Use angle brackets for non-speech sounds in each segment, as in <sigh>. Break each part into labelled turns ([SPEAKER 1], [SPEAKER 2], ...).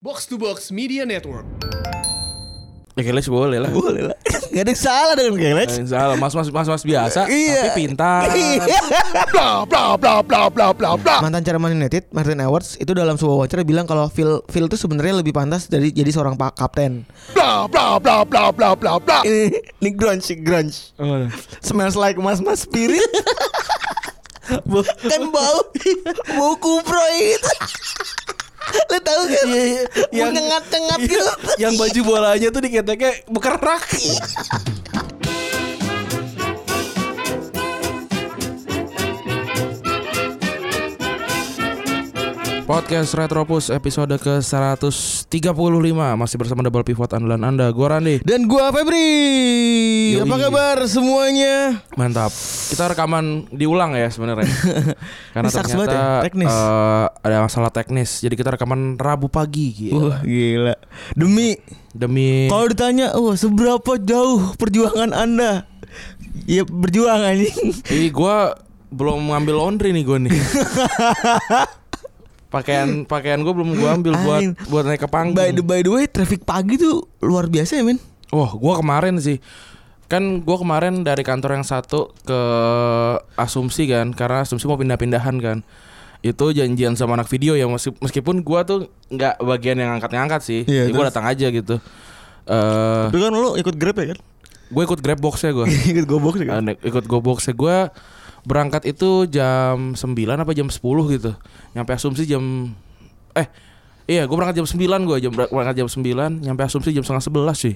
[SPEAKER 1] Box to Box Media Network.
[SPEAKER 2] Ya Kelec boleh lah.
[SPEAKER 3] Boleh lah. Gak ada yang salah dengan <laughs> Galax.
[SPEAKER 2] Yang salah mas mas mas mas biasa
[SPEAKER 3] Iya.
[SPEAKER 2] tapi pintar.
[SPEAKER 1] Bla bla bla bla bla bla bla.
[SPEAKER 4] Ah.
[SPEAKER 3] Mantan Chairman United Martin Edwards itu dalam sebuah wawancara bilang kalau Phil Phil itu sebenarnya lebih pantas dari jadi seorang pak kapten.
[SPEAKER 1] Bla bla bla bla bla bla bla.
[SPEAKER 3] Ini, ini grunge, grunge. Smells like mas-mas <laughs> spirit. kan bau bau kupro itu. Lo tau kan?
[SPEAKER 2] Iya, iya.
[SPEAKER 3] Yang
[SPEAKER 2] Yang-
[SPEAKER 3] nyengat-nyengat gitu.
[SPEAKER 2] Yang baju bolanya tuh diketeknya bekerak. Podcast Retropus episode ke-135 Masih bersama Double Pivot andalan Anda Gue Randi
[SPEAKER 3] Dan gua Febri.
[SPEAKER 2] Yoi.
[SPEAKER 3] Apa kabar semuanya?
[SPEAKER 2] Mantap. Kita rekaman diulang ya
[SPEAKER 3] <laughs>
[SPEAKER 2] sebenarnya. Karena
[SPEAKER 3] Ini sucks
[SPEAKER 2] ternyata
[SPEAKER 3] banget ya, teknis.
[SPEAKER 2] eh, ada masalah teknis. Jadi kita rekaman Rabu pagi gila.
[SPEAKER 3] Wah gila Demi
[SPEAKER 2] Demi
[SPEAKER 3] Kalau ditanya Wah seberapa jauh perjuangan anda Ya berjuang anjing
[SPEAKER 2] Ih, gua belum ngambil laundry nih gua
[SPEAKER 3] <laughs>
[SPEAKER 2] nih. pakaian pakaian gua belum gua ambil buat
[SPEAKER 3] Anjing.
[SPEAKER 2] buat naik ke panggung.
[SPEAKER 3] By the, by the way Traffic pagi tuh luar biasa ya men
[SPEAKER 2] Wah, gua kemarin sih kan gua kemarin dari kantor yang satu ke asumsi kan karena asumsi mau pindah-pindahan kan itu janjian sama anak video ya meski- meskipun gua tuh nggak bagian yang angkat-ngangkat sih Jadi
[SPEAKER 3] Iya,
[SPEAKER 2] gua
[SPEAKER 3] terus?
[SPEAKER 2] datang aja gitu eh
[SPEAKER 3] Tapi kan lo ikut grab ya kan
[SPEAKER 2] gua ikut grab boxnya gua
[SPEAKER 3] <laughs> Ikut gobok sih kan?
[SPEAKER 2] Eh, ikut go boxnya gua berangkat itu jam 9 apa jam 10 gitu nyampe asumsi jam eh iya gua berangkat jam 9 gua jam berangkat jam 9 nyampe asumsi jam setengah 11 sih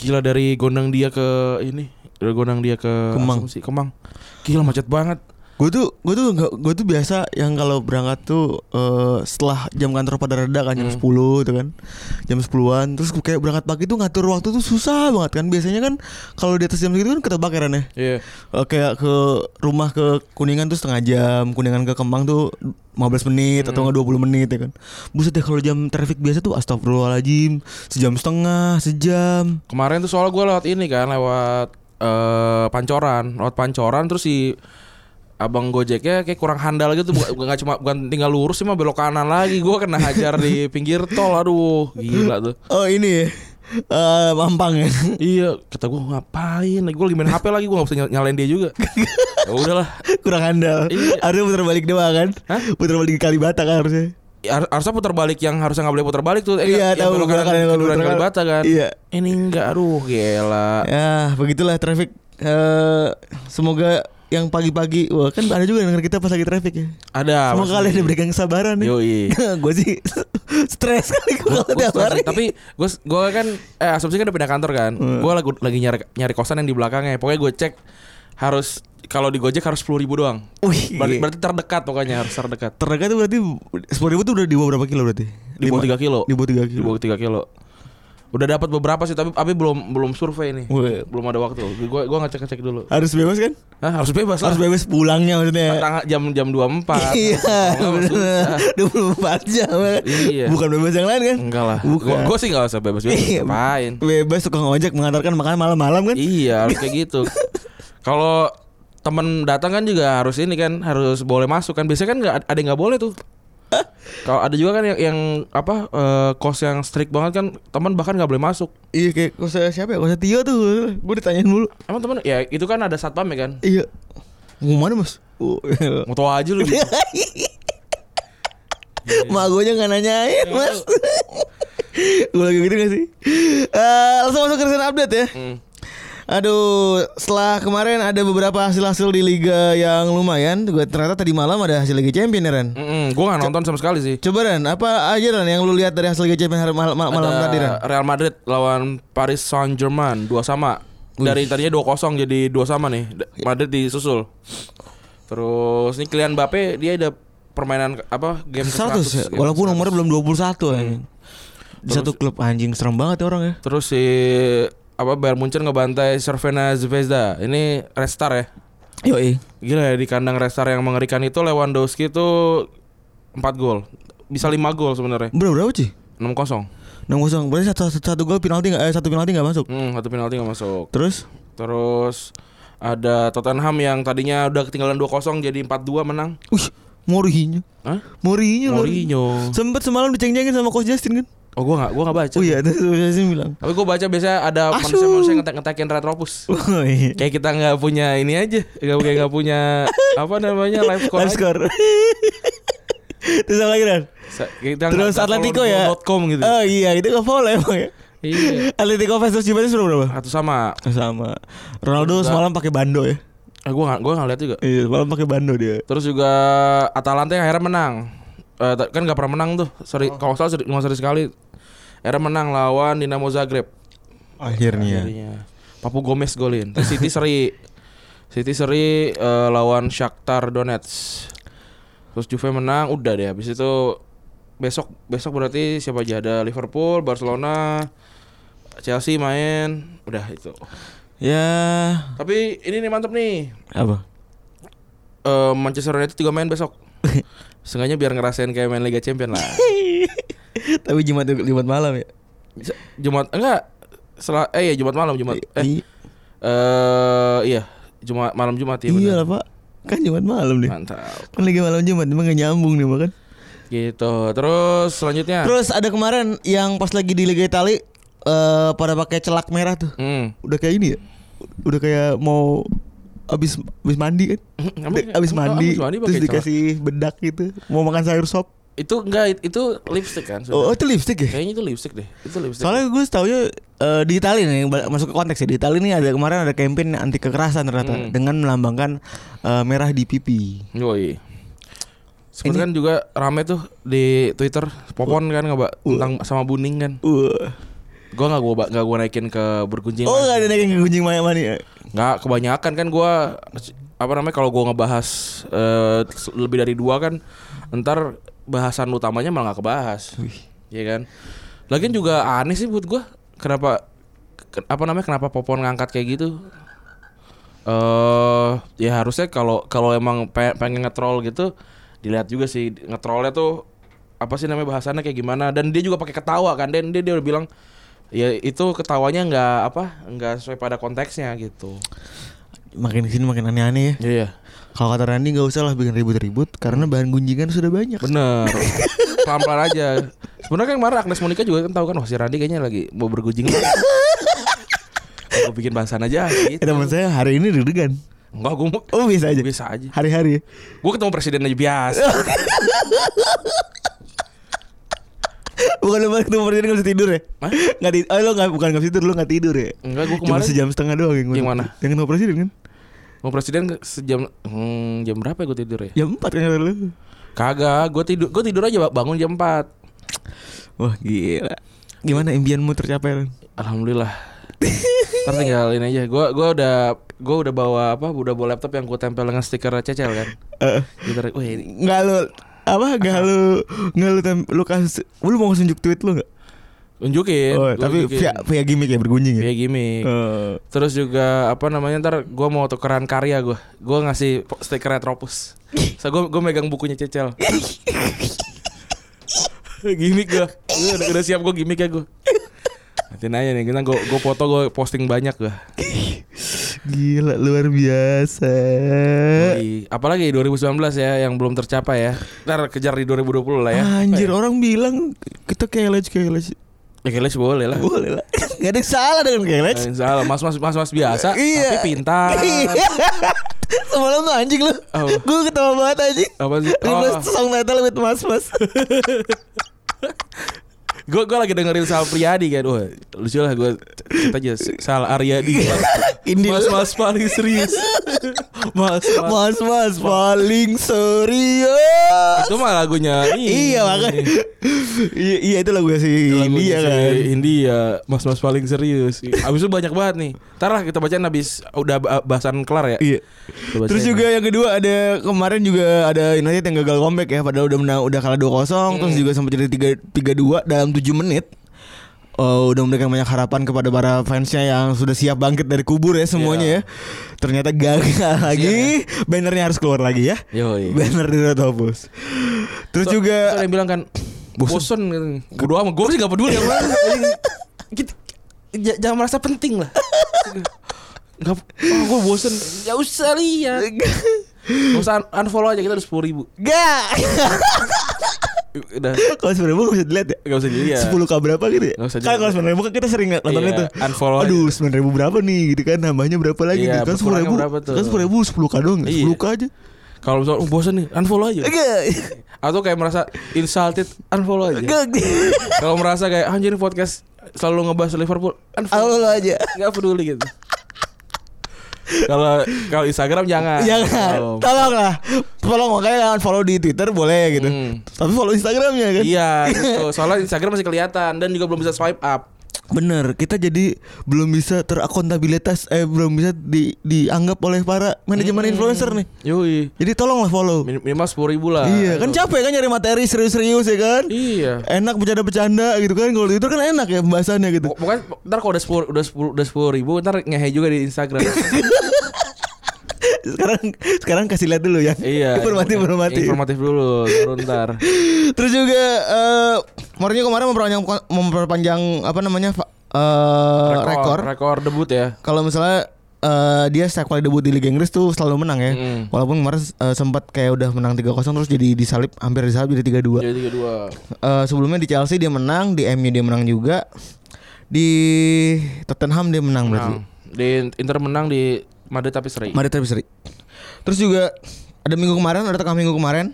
[SPEAKER 2] gila dari gondang dia ke ini dari gondang dia ke
[SPEAKER 3] Kemang.
[SPEAKER 2] asumsi Kemang gila macet banget
[SPEAKER 3] Gue tuh gue tuh nggak gue tuh biasa yang kalau berangkat tuh eh, setelah jam kantor pada reda kan jam 10 itu kan jam 10-an terus kayak berangkat pagi tuh ngatur waktu tuh susah banget kan biasanya kan kalau di atas jam segitu kan ketebak ya, Ren, ya
[SPEAKER 2] iya
[SPEAKER 3] Eh, kayak ke rumah ke Kuningan tuh setengah jam, Kuningan ke Kemang tuh 15 menit atau nggak 20 menit ya kan. Buset deh kalau jam traffic biasa tuh astagfirullahaladzim, sejam setengah, sejam.
[SPEAKER 2] kemarin tuh soal gua lewat ini kan lewat eh, pancoran lewat pancoran terus si abang gojeknya kayak kurang handal gitu bukan nggak cuma bukan tinggal lurus sih mah belok kanan lagi gua kena hajar di pinggir tol aduh gila tuh
[SPEAKER 3] Oh ini ya. Eh, mampang ya. <laughs>
[SPEAKER 2] iya kata gua ngapain gue lagi main hp lagi gua nggak bisa nyal- nyalain dia juga ya udahlah
[SPEAKER 3] Kurang handal.
[SPEAKER 2] Iya.
[SPEAKER 3] Harusnya putar balik doang kan.
[SPEAKER 2] Hah?
[SPEAKER 3] Putar balik di Kalibata kan harusnya.
[SPEAKER 2] Ya, har- harusnya putar balik yang harusnya nggak boleh putar balik tuh eh,
[SPEAKER 3] Iya, tahu,
[SPEAKER 2] belok
[SPEAKER 3] belok kanan
[SPEAKER 2] kanan
[SPEAKER 3] yang
[SPEAKER 2] keduran
[SPEAKER 3] putar-
[SPEAKER 2] Kalibata kan Ah.
[SPEAKER 3] Iya.
[SPEAKER 2] ini enggak aduh gila
[SPEAKER 3] Ya, begitulah traffic eh semoga yang pagi-pagi wah kan ada juga yang denger kita pas lagi traffic ya.
[SPEAKER 2] ada
[SPEAKER 3] Semoga kalian diberikan kesabaran ya.
[SPEAKER 2] Ah, iya. Yoi.
[SPEAKER 3] <laughs> gue sih stres kali gue
[SPEAKER 2] Gua-
[SPEAKER 3] kalau
[SPEAKER 2] gua
[SPEAKER 3] tiap
[SPEAKER 2] stres
[SPEAKER 3] hari. Hmm.
[SPEAKER 2] sih. tapi gue gue kan eh asumsi kan udah pindah kantor kan gue lagi lagi nyari nyari kosan yang di belakangnya pokoknya gue cek harus kalau di Gojek harus sepuluh ribu doang
[SPEAKER 3] Wih,
[SPEAKER 2] berarti, berarti terdekat pokoknya harus terdekat
[SPEAKER 3] terdekat itu berarti sepuluh ribu tuh udah di bawah berapa kilo berarti?
[SPEAKER 2] di bawah tiga kilo
[SPEAKER 3] Di bawah tiga
[SPEAKER 2] di
[SPEAKER 3] kilo.
[SPEAKER 2] bawah tiga kilo udah dapat beberapa sih tapi tapi belum belum survei nih
[SPEAKER 3] Wih.
[SPEAKER 2] belum ada waktu gue gue ngecek ngecek dulu
[SPEAKER 3] Harus bebas kan?
[SPEAKER 2] Hah, harus bebas lah
[SPEAKER 3] Harus bebas pulangnya maksudnya.
[SPEAKER 2] Tanggal- jam jam dua empat
[SPEAKER 3] Iya, dua puluh empat jam. kan?
[SPEAKER 2] Oh, Iya.
[SPEAKER 3] Bukan bebas yang lain kan?
[SPEAKER 2] enggak lah
[SPEAKER 3] Bukan.
[SPEAKER 2] gue sih nggak usah bebas bebas
[SPEAKER 3] Iya.
[SPEAKER 2] ngapain
[SPEAKER 3] Bebas tukang ojek mengantarkan makanan malam-malam kan?
[SPEAKER 2] Iya harus kayak gitu. Kalau temen datang kan juga harus ini kan harus boleh masuk kan. Biasanya kan nggak ada yang nggak boleh tuh. Kalau ada juga kan yang, yang apa eh, kos yang strict banget kan teman bahkan nggak boleh masuk.
[SPEAKER 3] Iya kayak kosa siapa ya? Kosa Tio tuh. Gue ditanyain mulu.
[SPEAKER 2] Emang teman ya itu kan ada satpam ya kan.
[SPEAKER 3] Iya. Mau mana mas? Oh,
[SPEAKER 2] Mau tau aja lu. gitu. iya.
[SPEAKER 3] Mak gue nya nggak nanyain mas Gue lagi gitu gak sih Eh, Langsung masuk ke recent update ya
[SPEAKER 2] Hmm.
[SPEAKER 3] Aduh Setelah kemarin ada beberapa hasil-hasil di Liga yang lumayan Gue ternyata tadi malam ada hasil Liga Champion ya Ren
[SPEAKER 2] Mm-mm, gua nggak nonton sama sekali sih.
[SPEAKER 3] Coba Ren Apa aja Ren yang lu lihat dari hasil Liga Champion hari mal- mal- malam
[SPEAKER 2] Ada
[SPEAKER 3] tadi Ren
[SPEAKER 2] Real Madrid lawan Paris Saint Germain dua sama. Dari tadinya 2-0 jadi dua sama nih. D-
[SPEAKER 3] Iya.
[SPEAKER 2] Madrid disusul. Terus ini Kylian Mbappe dia ada permainan ke- Iya, apa game
[SPEAKER 3] 100 ya
[SPEAKER 2] ke-100.
[SPEAKER 3] Walaupun umurnya belum 21 ya Di satu klub anjing serem banget ya orang ya
[SPEAKER 2] Terus si apa Bayern Munchen ngebantai Cervena Zvezda. Ini Red Star ya.
[SPEAKER 3] Yoi
[SPEAKER 2] Gila ya di kandang Red Star yang mengerikan itu Lewandowski tuh 4 gol. Bisa 5 gol sebenarnya.
[SPEAKER 3] Berapa berapa sih?
[SPEAKER 2] 6-0.
[SPEAKER 3] 6-0 Berarti satu, satu, satu gol penalti gak, eh, satu penalti gak masuk
[SPEAKER 2] Hmm, satu penalti nggak masuk.
[SPEAKER 3] Terus
[SPEAKER 2] Terus ada Tottenham yang tadinya udah ketinggalan 2-0 jadi 4-2 menang.
[SPEAKER 3] Wih Mourinho
[SPEAKER 2] Hah?
[SPEAKER 3] Mourinho, Mourinho.
[SPEAKER 2] Mourinho.
[SPEAKER 3] Sempet semalam diceng-cengin sama Coach Justin kan
[SPEAKER 2] Oh gue gak, gue gak baca
[SPEAKER 3] Oh iya, terus biasanya bilang.
[SPEAKER 2] Tapi gue baca biasanya ada
[SPEAKER 3] Asu.
[SPEAKER 2] manusia-manusia ngetek-ngetekin retropus
[SPEAKER 3] Oh iya.
[SPEAKER 2] Kayak kita gak punya ini aja Gak, kayak gak
[SPEAKER 3] <laughs>
[SPEAKER 2] punya apa namanya live score aja.
[SPEAKER 3] Live score. <laughs> terus apa lagi Dan?
[SPEAKER 2] Sa- Kita nggak-
[SPEAKER 3] Terus
[SPEAKER 2] nggak
[SPEAKER 3] Atletico
[SPEAKER 2] follow
[SPEAKER 3] ya.
[SPEAKER 2] football.com gitu
[SPEAKER 3] Oh iya, itu nggak follow emang ya.
[SPEAKER 2] Iya
[SPEAKER 3] Atletico versus Juventus berapa? berapa?
[SPEAKER 2] Atau sama
[SPEAKER 3] Sama. Ronaldo semalam pakai bando ya.
[SPEAKER 2] eh, Gue gak, gua gak liat juga
[SPEAKER 3] Iya, semalam pakai bando dia.
[SPEAKER 2] Terus juga Atalanta yang akhirnya menang. Eh, ta- kan gak pernah menang tuh. Seri,
[SPEAKER 3] Oh.
[SPEAKER 2] Kalau nggak salah seri, cuma seri sekali. Akhirnya menang lawan Dinamo Zagreb.
[SPEAKER 3] Akhirnya.
[SPEAKER 2] kan Jadinya. Papu Gomez golin. Terus City seri. City seri eh, lawan Shakhtar Donetsk. Terus Juve menang, udah deh habis itu besok besok berarti siapa aja ada Liverpool, Barcelona, Chelsea main, udah itu.
[SPEAKER 3] Ya,
[SPEAKER 2] Tapi ini nih mantep nih.
[SPEAKER 3] apa?
[SPEAKER 2] Eh, Manchester United juga main besok. Seenggaknya biar ngerasain kayak main Liga Champion lah.
[SPEAKER 3] <laughs> Tapi Jumat Jumat malam ya.
[SPEAKER 2] Se- Jumat enggak setelah eh ya Jumat malam Jumat eh
[SPEAKER 3] I-
[SPEAKER 2] eh, iya Jumat malam Jumat ya
[SPEAKER 3] iya lah
[SPEAKER 2] benar.
[SPEAKER 3] Pak. Kan Jumat malam nih.
[SPEAKER 2] Mantap.
[SPEAKER 3] Kan lagi malam Jumat, emang gak nyambung nih makan.
[SPEAKER 2] Gitu. Terus selanjutnya.
[SPEAKER 3] Terus ada kemarin yang pas lagi di Liga Itali eh pada pakai celak merah tuh.
[SPEAKER 2] Hmm.
[SPEAKER 3] Udah kayak ini ya. Udah kayak mau abis abis <laughs> mandi kan.
[SPEAKER 2] Emang-
[SPEAKER 3] abis
[SPEAKER 2] emang-
[SPEAKER 3] mandi,
[SPEAKER 2] abis mandi pakai
[SPEAKER 3] terus
[SPEAKER 2] celak?
[SPEAKER 3] dikasih bedak gitu. Mau makan sayur sop.
[SPEAKER 2] Itu enggak it- itu lipstick kan? sudah.
[SPEAKER 3] Oh, itu lipstick ya?
[SPEAKER 2] Kayaknya itu lipstick deh. Itu lipstick.
[SPEAKER 3] Soalnya gue taunya eh, di Itali nih yang bal- masuk ke konteks ya di Itali nih ada kemarin ada campaign anti kekerasan ternyata
[SPEAKER 2] Hmm.
[SPEAKER 3] dengan melambangkan eh, merah di pipi.
[SPEAKER 2] Yoi. Sebenarnya kan juga rame tuh di Twitter Popon
[SPEAKER 3] Oh.
[SPEAKER 2] kan nggak Mbak? tentang sama Buning kan.
[SPEAKER 3] Wah.
[SPEAKER 2] Gua nggak gua nggak gua naikin ke berkunjing.
[SPEAKER 3] Oh gak ada yang gunjing maya mani.
[SPEAKER 2] Nggak kebanyakan kan gua apa namanya kalau gua ngebahas eh, lebih dari dua kan ntar bahasan utamanya malah nggak kebahas. Iya kan? Lagian juga aneh sih buat gua kenapa ke- apa namanya kenapa Popon ngangkat kayak gitu? Eh ya harusnya kalau kalau emang pe- pengen nge-troll gitu dilihat juga sih nge-trollnya tuh apa sih namanya bahasannya kayak gimana dan dia juga pakai ketawa kan dan dia dia udah bilang ya itu ketawanya nggak apa nggak sesuai pada konteksnya gitu.
[SPEAKER 3] Makin kesini makin aneh-aneh ya.
[SPEAKER 2] Iya.
[SPEAKER 3] Kalau kata Randy nggak usah lah bikin ribut-ribut karena bahan gunjingan sudah banyak.
[SPEAKER 2] Bener. Pelan-pelan aja. Sebenarnya kan kemarin Agnes Monica juga kan tahu kan wah si Randy kayaknya lagi mau bergujing. Gue bikin bahasan aja
[SPEAKER 3] Eh,
[SPEAKER 2] gitu.
[SPEAKER 3] teman saya hari ini deg-degan.
[SPEAKER 2] Enggak gue mau
[SPEAKER 3] Oh bisa aja.
[SPEAKER 2] biasa aja.
[SPEAKER 3] Hari-hari. ya? <laughs>
[SPEAKER 2] Gue ketemu presiden aja biasa.
[SPEAKER 3] Bukan lu pas ketemu presiden nggak bisa tidur ya?
[SPEAKER 2] Hah?
[SPEAKER 3] Nggak tidur. Oh lo nggak bukan nggak bisa tidur lo nggak tidur ya?
[SPEAKER 2] Enggak gue
[SPEAKER 3] Cuma
[SPEAKER 2] kemarin
[SPEAKER 3] sejam setengah doang yang, gua-
[SPEAKER 2] Yang mana?
[SPEAKER 3] Yang ketemu presiden kan?
[SPEAKER 2] mau presiden ke- sejam hmm, jam berapa ya gue tidur ya?
[SPEAKER 3] Jam empat kan kata lu.
[SPEAKER 2] Kagak, gue tidur gue tidur aja Bang. bangun jam 4.
[SPEAKER 3] Wah gila. Gimana impianmu tercapai? Ren?
[SPEAKER 2] Alhamdulillah. Ntar tinggalin aja. Gue gua udah gue udah bawa apa? Udah bawa laptop yang gue tempel dengan stiker cecel kan.
[SPEAKER 3] Eh,
[SPEAKER 2] Gitu. Wah, ini
[SPEAKER 3] nggak lu apa nggak lu nggak lu tem- lu kasih lu mau nunjuk tweet lu nggak?
[SPEAKER 2] unjukin.
[SPEAKER 3] Oh,
[SPEAKER 2] gua
[SPEAKER 3] tapi
[SPEAKER 2] unjukin.
[SPEAKER 3] via via gimmick ya bergunjing
[SPEAKER 2] Iya
[SPEAKER 3] ya.
[SPEAKER 2] Eh, gimmick.
[SPEAKER 3] Eh,
[SPEAKER 2] Terus juga apa namanya ntar gue mau tukeran karya gue. Gue ngasih po- stiker Retropus. So gue gue megang bukunya Cecel. <laughs> gimmick gue. Gua Udah, udah siap gue gimmick ya gue. Nanti nanya nih, kita gue gue foto gue posting banyak gue.
[SPEAKER 3] gila luar biasa. Eh.
[SPEAKER 2] Di- Apalagi 2019 ya yang belum tercapai ya. Ntar kejar di 2020 lah ya.
[SPEAKER 3] Anjir orang bilang kita keles keles
[SPEAKER 2] Ya keles boleh lah.
[SPEAKER 3] boleh lah <laughs> nggak ada yang salah dengan keles
[SPEAKER 2] Eh, Salah, mas mas mas mas biasa, tapi
[SPEAKER 3] Iya.
[SPEAKER 2] pintar.
[SPEAKER 3] Iya. <laughs> Semalam tuh anjing lu
[SPEAKER 2] Apa?
[SPEAKER 3] Gue ketawa banget anjing
[SPEAKER 2] Apa sih?
[SPEAKER 3] Request
[SPEAKER 2] Oh.
[SPEAKER 3] song title with mas mas
[SPEAKER 2] Gue gue lagi dengerin Sal Priadi kan. Wah, lucu lah gue cerita aja Sal
[SPEAKER 3] <laughs>
[SPEAKER 2] Aryadi.
[SPEAKER 3] Ini
[SPEAKER 2] mas mas paling serius. mas mas.
[SPEAKER 3] Mas mas paling serius
[SPEAKER 2] Itu mah lagunya ini.
[SPEAKER 3] Iya makanya Iya iya, itu lagu si
[SPEAKER 2] Lagunya
[SPEAKER 3] India
[SPEAKER 2] si
[SPEAKER 3] kan
[SPEAKER 2] India Mas mas paling serius Abis itu banyak banget nih Ntar lah kita bacain abis Udah ba- bahasan kelar ya
[SPEAKER 3] Iya
[SPEAKER 2] Kita bacain.
[SPEAKER 3] Terus juga yang kedua ada kemarin juga ada United yang gagal comeback ya padahal udah menang udah kalah 2-0 terus juga sempat jadi 3 3-2 dalam 7 menit. Oh, udah memberikan banyak harapan kepada para fansnya yang sudah siap bangkit dari kubur ya semuanya ya. Ternyata gagal lagi. Bannernya harus keluar lagi ya.
[SPEAKER 2] Yoi.
[SPEAKER 3] Banner di Retobus. Terus juga
[SPEAKER 2] Terus ada yang bilang kan Bosen gitu Bodo amat Gue sih gak peduli yang <laughs> mana. Gitu. J- Jangan merasa penting lah Gak, oh, gue bosen Gak usah lihat Gak usah un- unfollow aja Kita udah 10 ribu
[SPEAKER 3] Gak
[SPEAKER 2] udah
[SPEAKER 3] Kalau sembilan ribu bisa dilihat ya
[SPEAKER 2] gak usah dilihat.
[SPEAKER 3] sepuluh k berapa gitu ya
[SPEAKER 2] Iya. Nggak usah
[SPEAKER 3] kan
[SPEAKER 2] dilihat.
[SPEAKER 3] kalau sembilan ribu kan kita sering nonton
[SPEAKER 2] Iya,
[SPEAKER 3] itu
[SPEAKER 2] unfollow aja.
[SPEAKER 3] aduh sembilan ribu berapa nih gitu kan nambahnya berapa lagi
[SPEAKER 2] Iya,
[SPEAKER 3] gitu kan sepuluh
[SPEAKER 2] berkurangnya
[SPEAKER 3] ribu
[SPEAKER 2] berapa tuh?
[SPEAKER 3] kan sepuluh ribu sepuluh k dong
[SPEAKER 2] Iya.
[SPEAKER 3] sepuluh k aja
[SPEAKER 2] Kalau misalnya oh, bosan nih, unfollow aja.
[SPEAKER 3] Gak,
[SPEAKER 2] Atau kayak merasa insulted, unfollow aja.
[SPEAKER 3] gak,
[SPEAKER 2] Kalau merasa kayak anjir ini podcast selalu ngebahas Liverpool, unfollow.
[SPEAKER 3] lo aja.
[SPEAKER 2] Gak peduli gitu. Kalau kalau Instagram jangan. Tolong.
[SPEAKER 3] Jangan, Iya kan? tolong lah, tolong makanya jangan follow di Twitter boleh gitu,
[SPEAKER 2] Hmm.
[SPEAKER 3] tapi follow Instagramnya kan.
[SPEAKER 2] Iya, gitu. Soalnya Instagram masih kelihatan dan juga belum bisa swipe up.
[SPEAKER 3] Bener, kita jadi belum bisa terakontabilitas, eh belum bisa di, dianggap oleh para manajemen
[SPEAKER 2] Hmm.
[SPEAKER 3] influencer nih.
[SPEAKER 2] Yoi.
[SPEAKER 3] Jadi tolonglah follow.
[SPEAKER 2] Min- Minimal sepuluh ribu lah.
[SPEAKER 3] iya, kan capek kan nyari materi serius-serius ya kan.
[SPEAKER 2] Iya.
[SPEAKER 3] Enak bercanda-bercanda gitu kan. Kalau di Twitter kan enak ya pembahasannya gitu.
[SPEAKER 2] Pok- Pokoknya ntar kalau udah sepuluh udah sepuluh udah sepuluh ribu ntar ngehe juga di
[SPEAKER 3] <laughs>
[SPEAKER 2] Instagram.
[SPEAKER 3] <laughs> Sekarang sekarang kasih lihat dulu ya. <laughs>
[SPEAKER 2] iya.
[SPEAKER 3] Informatif, informatif.
[SPEAKER 2] Informatif dulu. Baru ntar.
[SPEAKER 3] Terus juga eh Mourinho kemarin memperpanjang memperpanjang apa namanya fa- eh, rekor.
[SPEAKER 2] Rekor debut ya.
[SPEAKER 3] Kalau misalnya eh, dia setiap kali debut di Liga Inggris tuh selalu menang ya.
[SPEAKER 2] Mm.
[SPEAKER 3] Walaupun kemarin eh, sempat kayak udah menang 3-0 terus jadi disalip hampir disalip jadi 3-2.
[SPEAKER 2] Jadi tiga dua.
[SPEAKER 3] Eh, sebelumnya di Chelsea dia menang, di MU dia menang juga. Di Tottenham dia menang berarti.
[SPEAKER 2] Menang. Di Inter menang di Madrid tapi seri.
[SPEAKER 3] Madrid tapi seri. Terus juga ada minggu kemarin, ada tengah minggu kemarin.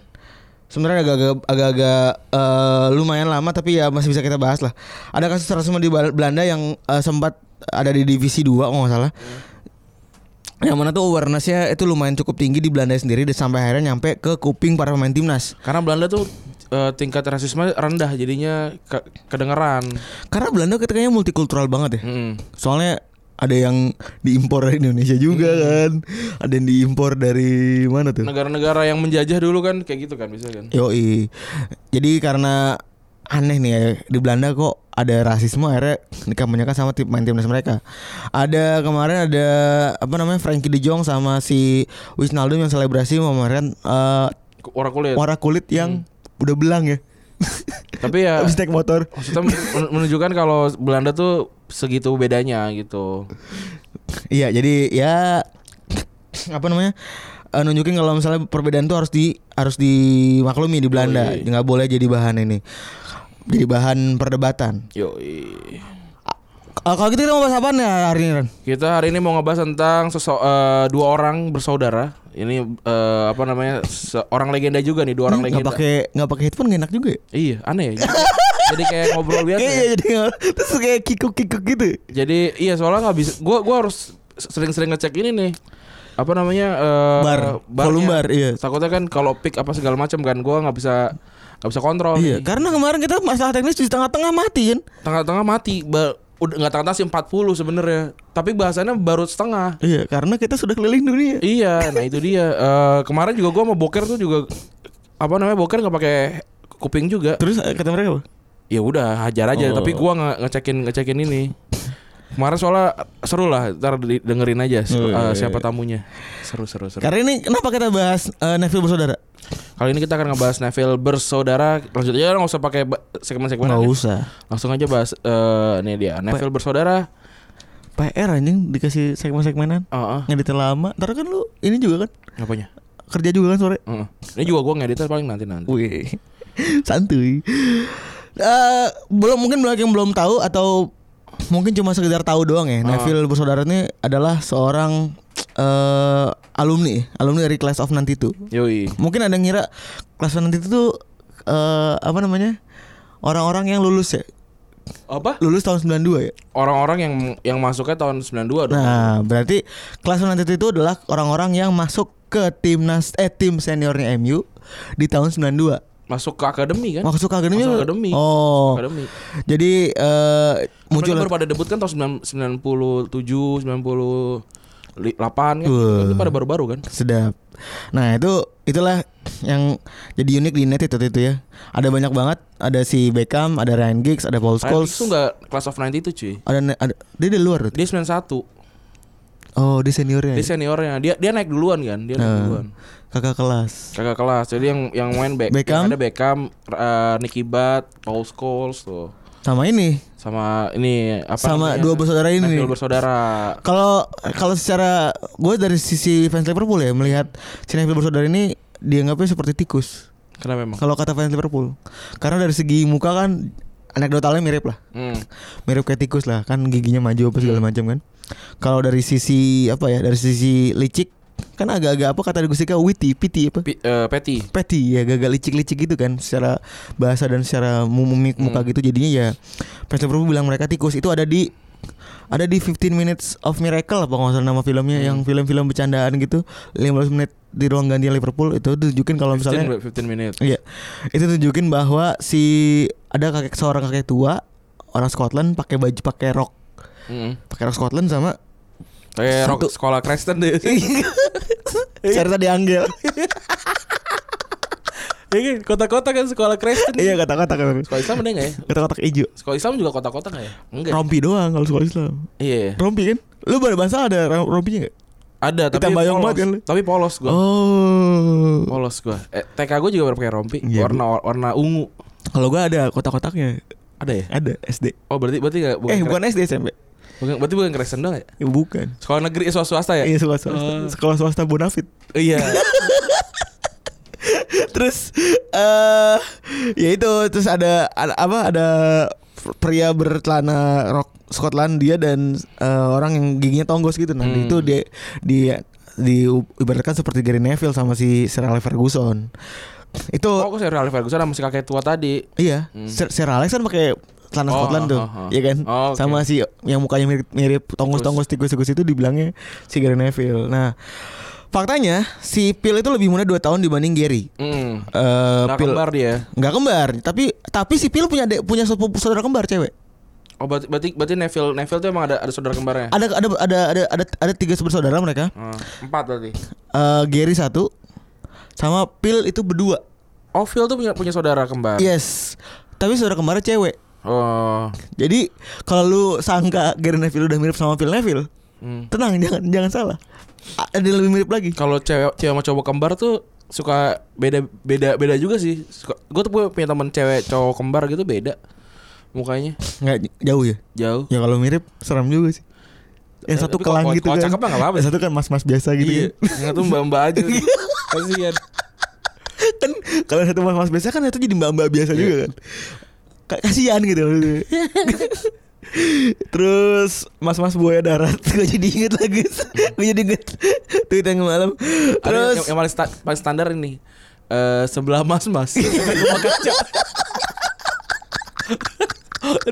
[SPEAKER 3] Sebenarnya agak-agak agak-agak eh, lumayan lama tapi ya masih bisa kita bahas lah. Ada kasus rasisme di Bal- Belanda yang eh, sempat ada di divisi 2 kalau nggak salah. Yang mana tuh awarenessnya itu lumayan cukup tinggi di Belanda sendiri dan sampai akhirnya nyampe ke kuping para pemain timnas.
[SPEAKER 2] Karena Belanda tuh eh, tingkat rasisme rendah jadinya ke- kedengeran.
[SPEAKER 3] Karena Belanda kayaknya multikultural banget ya.
[SPEAKER 2] Mm.
[SPEAKER 3] Soalnya ada yang diimpor dari Indonesia juga kan. Ada yang diimpor dari mana tuh?
[SPEAKER 2] Negara-negara yang menjajah dulu kan kayak gitu kan bisa kan.
[SPEAKER 3] Yoi. Jadi karena aneh nih ya di Belanda kok ada rasisme akhirnya dikampanyekan sama tim main timnas mereka. Ada kemarin ada apa namanya Frankie De Jong sama si Wijnaldum yang selebrasi memamerkan eh,
[SPEAKER 2] Orang kulit.
[SPEAKER 3] warna kulit yang udah belang ya.
[SPEAKER 2] Tapi ya
[SPEAKER 3] Habis naik motor.
[SPEAKER 2] maksudnya men- menunjukkan kalau Belanda tuh segitu bedanya gitu.
[SPEAKER 3] Iya, jadi ya apa namanya? eh, nunjukin kalau misalnya perbedaan tuh harus di harus dimaklumi di Belanda.
[SPEAKER 2] Yoi.
[SPEAKER 3] Nggak boleh jadi bahan ini. Jadi bahan perdebatan.
[SPEAKER 2] Yoi.
[SPEAKER 3] Eh, kalau gitu kita mau bahas apa nih hari ini? Ren?
[SPEAKER 2] Kita hari ini mau ngebahas tentang seso- eh, dua orang bersaudara. Ini eh, apa namanya? Seorang legenda juga nih, dua orang
[SPEAKER 3] nggak
[SPEAKER 2] legenda.
[SPEAKER 3] pakai nggak pakai headphone gak enak juga ya?
[SPEAKER 2] Iya, aneh ya. Jadi, jadi kayak ngobrol biasa.
[SPEAKER 3] Iya
[SPEAKER 2] ya.
[SPEAKER 3] iya jadi nggak- <laughs> terus kayak kikuk kikuk gitu.
[SPEAKER 2] Jadi iya soalnya nggak bisa. Gua gua harus sering-sering ngecek ini nih. Apa namanya? eh,
[SPEAKER 3] Bar,
[SPEAKER 2] barnya.
[SPEAKER 3] volume bar, iya.
[SPEAKER 2] Takutnya kan kalau pick apa segala macam kan gua nggak bisa nggak bisa kontrol.
[SPEAKER 3] iya
[SPEAKER 2] nih.
[SPEAKER 3] karena kemarin kita masalah teknis di tengah-tengah mati kan.
[SPEAKER 2] Tengah-tengah mati. Ba- udah nggak tengah-tengah sih 40 sebenarnya. Tapi bahasannya baru setengah.
[SPEAKER 3] Iya karena kita sudah keliling dunia.
[SPEAKER 2] Iya, nah itu dia. Eh, kemarin juga gua sama Boker tuh juga apa namanya Boker nggak pakai kuping juga.
[SPEAKER 3] Terus eh, kata mereka apa?
[SPEAKER 2] Ya udah hajar aja.
[SPEAKER 3] Oh.
[SPEAKER 2] Tapi gua nggak ngecekin ngecekin ini. Kemarin soalnya seru lah, ntar di- dengerin aja si-
[SPEAKER 3] Oh, iya,
[SPEAKER 2] eh,
[SPEAKER 3] iya. Kan-
[SPEAKER 2] siapa tamunya. Seru seru seru.
[SPEAKER 3] Karena ini kenapa kita bahas eh, Neville bersaudara?
[SPEAKER 2] Kali ini kita akan ngebahas Neville bersaudara. Lanjut aja nggak usah pakai ba- segmen-segmen.
[SPEAKER 3] Nggak
[SPEAKER 2] aja.
[SPEAKER 3] usah.
[SPEAKER 2] Langsung aja bahas eh ini dia Neville bersaudara.
[SPEAKER 3] PR anjing dikasih segmen-segmenan.
[SPEAKER 2] Heeh.
[SPEAKER 3] Ngedit lama. Ntar kan lu ini juga kan
[SPEAKER 2] Apanya?
[SPEAKER 3] kerja juga kan sore.
[SPEAKER 2] Heeh. Ini juga gua ngedit paling nanti nanti.
[SPEAKER 3] Wih, santuy. Eh, belum mungkin banyak yang belum tahu atau mungkin cuma sekedar tahu doang
[SPEAKER 2] Ah.
[SPEAKER 3] ya. Neville bersaudara ini adalah seorang eh alumni, alumni dari Class of 92.
[SPEAKER 2] Yoi.
[SPEAKER 3] Mungkin ada yang ngira Class of 92 itu eh apa namanya? Orang-orang yang lulus ya.
[SPEAKER 2] Apa?
[SPEAKER 3] Lulus tahun 92 ya.
[SPEAKER 2] orang-orang yang yang masuknya tahun 92 dong.
[SPEAKER 3] Nah, berarti Class of 92 itu adalah orang-orang yang masuk ke timnas eh tim seniornya MU di tahun 92.
[SPEAKER 2] Masuk ke akademi kan?
[SPEAKER 3] Masuk ke akademi.
[SPEAKER 2] Masuk akademi.
[SPEAKER 3] Oh.
[SPEAKER 2] Akademi.
[SPEAKER 3] Jadi eh
[SPEAKER 2] Muncul
[SPEAKER 3] muncul
[SPEAKER 2] baru pada debut kan tahun 9- 97, 98 kan.
[SPEAKER 3] Wah.
[SPEAKER 2] Itu pada baru-baru kan.
[SPEAKER 3] sedap. Nah, itu itulah yang jadi unik di United waktu itu ya. Ada banyak banget, ada si Beckham, ada Ryan Giggs, ada
[SPEAKER 2] Ryan
[SPEAKER 3] Paul
[SPEAKER 2] Giggs
[SPEAKER 3] Scholes.
[SPEAKER 2] tuh enggak class of 92 cuy.
[SPEAKER 3] Ada, ada dia di luar. berarti?
[SPEAKER 2] Dia 91.
[SPEAKER 3] Oh, dia seniornya.
[SPEAKER 2] Dia
[SPEAKER 3] ya?
[SPEAKER 2] seniornya. Dia dia naik duluan kan? Dia naik
[SPEAKER 3] Nah,
[SPEAKER 2] duluan.
[SPEAKER 3] kakak kelas.
[SPEAKER 2] Kakak kelas. Jadi yang yang main back
[SPEAKER 3] Beckham?
[SPEAKER 2] ada Beckham, eh, Nicky Butt, Paul Scholes tuh.
[SPEAKER 3] Sama ini.
[SPEAKER 2] Sama ini apa
[SPEAKER 3] Sama
[SPEAKER 2] namanya?
[SPEAKER 3] dua bersaudara ini
[SPEAKER 2] Neville
[SPEAKER 3] nih.
[SPEAKER 2] bersaudara.
[SPEAKER 3] Kalau kalau secara gue dari sisi fans Liverpool ya melihat si Neville bersaudara ini dianggapnya seperti tikus.
[SPEAKER 2] Kenapa emang?
[SPEAKER 3] Kalau kata fans Liverpool. Karena dari segi muka kan anekdotalnya mirip lah.
[SPEAKER 2] Hmm.
[SPEAKER 3] Mirip kayak tikus lah, kan giginya maju apa segala macam kan. Kalau dari sisi apa ya? Dari sisi licik kan agak-agak apa kata Gustika witty, pity apa?
[SPEAKER 2] Pi- eh, Patty.
[SPEAKER 3] Petty ya agak-agak licik-licik gitu kan secara bahasa dan secara mu- mimik muka gitu jadinya ya fans Liverpool bilang mereka tikus itu ada di ada di 15 minutes of miracle apa nggak salah nama filmnya yang film-film bercandaan gitu 15 menit di ruang ganti Liverpool itu tunjukin kalau misalnya
[SPEAKER 2] 15, 15 menit.
[SPEAKER 3] Iya. Itu tunjukin bahwa si ada kakek seorang kakek tua orang Scotland pakai baju pakai rok
[SPEAKER 2] Hmm.
[SPEAKER 3] pakai rok Scotland sama
[SPEAKER 2] Kayak rock
[SPEAKER 3] Satu. Iya.
[SPEAKER 2] sekolah Kristen
[SPEAKER 3] <laughs>
[SPEAKER 2] deh.
[SPEAKER 3] cerita di Anggel.
[SPEAKER 2] Iya kan? Kota-kota kan sekolah Kristen.
[SPEAKER 3] <laughs> iya kata-kata kan.
[SPEAKER 2] Sekolah Islam ada nggak ya?
[SPEAKER 3] Kata-kata hijau.
[SPEAKER 2] Sekolah Islam juga kota-kota nggak ya? Enggak.
[SPEAKER 3] Rompi doang kalau sekolah Islam.
[SPEAKER 2] Iya.
[SPEAKER 3] Rompi kan? Lu pada bahasa ada ro- rompinya gak?
[SPEAKER 2] Ada tapi
[SPEAKER 3] Hitam bayang
[SPEAKER 2] polos.
[SPEAKER 3] banget kan lu?
[SPEAKER 2] tapi polos gua.
[SPEAKER 3] Oh.
[SPEAKER 2] Polos gua. Eh, TK gua juga berpakai rompi
[SPEAKER 3] Iya,
[SPEAKER 2] warna warna ungu.
[SPEAKER 3] Kalau gua ada kotak-kotaknya.
[SPEAKER 2] Ada ya?
[SPEAKER 3] Ada SD.
[SPEAKER 2] Oh, berarti berarti nggak bukan,
[SPEAKER 3] eh,
[SPEAKER 2] kre-
[SPEAKER 3] bukan SD SMP.
[SPEAKER 2] bukan- berarti bukan Kristen dong ya?
[SPEAKER 3] Ya, bukan.
[SPEAKER 2] Sekolah negeri eh, sekolah swasta ya?
[SPEAKER 3] Iya, sekolah swasta.
[SPEAKER 2] Oh.
[SPEAKER 3] Sekolah swasta Bonafit.
[SPEAKER 2] Iya.
[SPEAKER 3] terus eh ya itu terus ada, ada apa ada pria bercelana rok Skotlandia dan eh, orang yang giginya tonggos gitu nah
[SPEAKER 2] Hmm.
[SPEAKER 3] itu dia dia diibaratkan seperti Gary Neville sama si Sir Alex Ferguson itu
[SPEAKER 2] Oh, aku Sir Alex Ferguson sama si kakek tua tadi.
[SPEAKER 3] iya
[SPEAKER 2] Hmm.
[SPEAKER 3] Sir, Sir Alex kan pakai celana
[SPEAKER 2] Oh,
[SPEAKER 3] Scotland tuh
[SPEAKER 2] oh, oh, oh.
[SPEAKER 3] ya kan
[SPEAKER 2] Oh, oke.
[SPEAKER 3] sama si yang mukanya mirip mirip tonggos tonggos tikus tikus itu dibilangnya si Gary Neville nah faktanya si Phil itu lebih muda 2 tahun dibanding Gary
[SPEAKER 2] Hmm.
[SPEAKER 3] Eh,
[SPEAKER 2] Nah,
[SPEAKER 3] Phil-
[SPEAKER 2] kembar dia.
[SPEAKER 3] nggak kembar, tapi tapi si Phil punya adek- punya sepupu- saudara kembar cewek.
[SPEAKER 2] Oh, berarti berarti, berarti Neville Neville tuh emang ada ada saudara kembarnya.
[SPEAKER 3] Ada ada ada ada ada, ada tiga bersaudara mereka.
[SPEAKER 2] Hmm, empat berarti.
[SPEAKER 3] Eh Gary satu, sama Phil itu berdua.
[SPEAKER 2] Oh, Phil tuh punya punya saudara kembar.
[SPEAKER 3] Yes, tapi saudara kembarnya cewek.
[SPEAKER 2] Oh.
[SPEAKER 3] Jadi kalau lu sangka Gary Neville udah mirip sama Phil Neville,
[SPEAKER 2] Hmm.
[SPEAKER 3] tenang <laughs> jangan jangan salah. A- Ada yang lebih mirip lagi.
[SPEAKER 2] kalau cewek cewek sama cowok kembar tuh suka beda beda beda juga sih. Suka, gue tuh punya- punya teman cewek cowok kembar gitu beda mukanya
[SPEAKER 3] Nggak jauh ya?
[SPEAKER 2] jauh.
[SPEAKER 3] Ya kalau mirip seram juga sih.
[SPEAKER 2] Eh,
[SPEAKER 3] Yang satu
[SPEAKER 2] tapi
[SPEAKER 3] kelang
[SPEAKER 2] kalau-
[SPEAKER 3] gitu
[SPEAKER 2] kalau
[SPEAKER 3] kan.
[SPEAKER 2] cakep mah nggak apa-apa
[SPEAKER 3] Yang satu kan mas-mas biasa gitu.
[SPEAKER 2] iya,
[SPEAKER 3] kan.
[SPEAKER 2] yang tuh mbak mbak aja. gitu.
[SPEAKER 3] <laughs>
[SPEAKER 2] Kasihan.
[SPEAKER 3] kan kalau satu mas mas biasa kan itu jadi mbak mbak biasa
[SPEAKER 2] Iya.
[SPEAKER 3] juga kan Ka- kasihan gitu
[SPEAKER 2] <laughs>
[SPEAKER 3] maksudnya. terus mas mas buaya darat <laughs> gue jadi inget lagi gue jadi inget tweet yang malam
[SPEAKER 2] Ada yang- yang,
[SPEAKER 3] terus
[SPEAKER 2] yang paling, sta- paling standar ini eh sebelah mas
[SPEAKER 3] <laughs>
[SPEAKER 2] mas.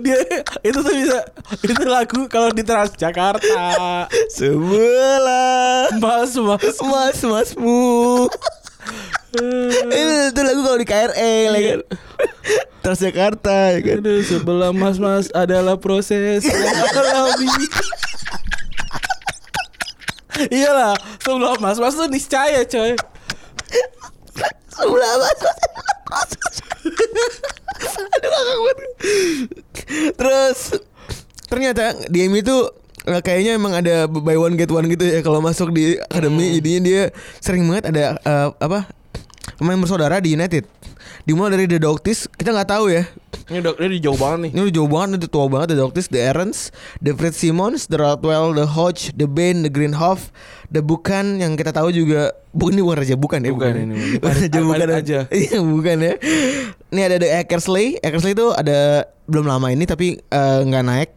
[SPEAKER 2] dia itu tuh bisa itu lagu kalau di
[SPEAKER 3] <laughs>
[SPEAKER 2] Transjakarta
[SPEAKER 3] sebelah
[SPEAKER 2] mas mas
[SPEAKER 3] mas masmu itu, itu lagu kalau di KRL ya kan terus Jakarta ya
[SPEAKER 2] Iya.
[SPEAKER 3] kan
[SPEAKER 2] Aduh, sebelah mas-mas adalah proses mengalami. Iyalah, sebelah mas-mas tuh niscaya, coy.
[SPEAKER 3] sebelah mas mas aduh kakak banget terus ternyata DM itu eh, kayaknya emang ada buy one get one gitu ya kalau masuk di akademi jadinya dia sering banget ada eh, apa pemain bersaudara di United dimulai dari The Doctis kita nggak tahu ya
[SPEAKER 2] Ini udah ini jauh banget nih.
[SPEAKER 3] ini udah jauh banget udah tua banget The Doctis The Aarons The Fred Simmons The Rodwell The Hodge The Bain The Greenhoff The Bukan yang kita tahu juga bukan ini bukan raja bukan ya
[SPEAKER 2] Bukan ini.
[SPEAKER 3] raja
[SPEAKER 2] Albarit
[SPEAKER 3] bukan
[SPEAKER 2] aja.
[SPEAKER 3] <laughs> iya bukan ya ini ada The Eckersley Eckersley itu ada belum lama ini tapi eh, nggak naik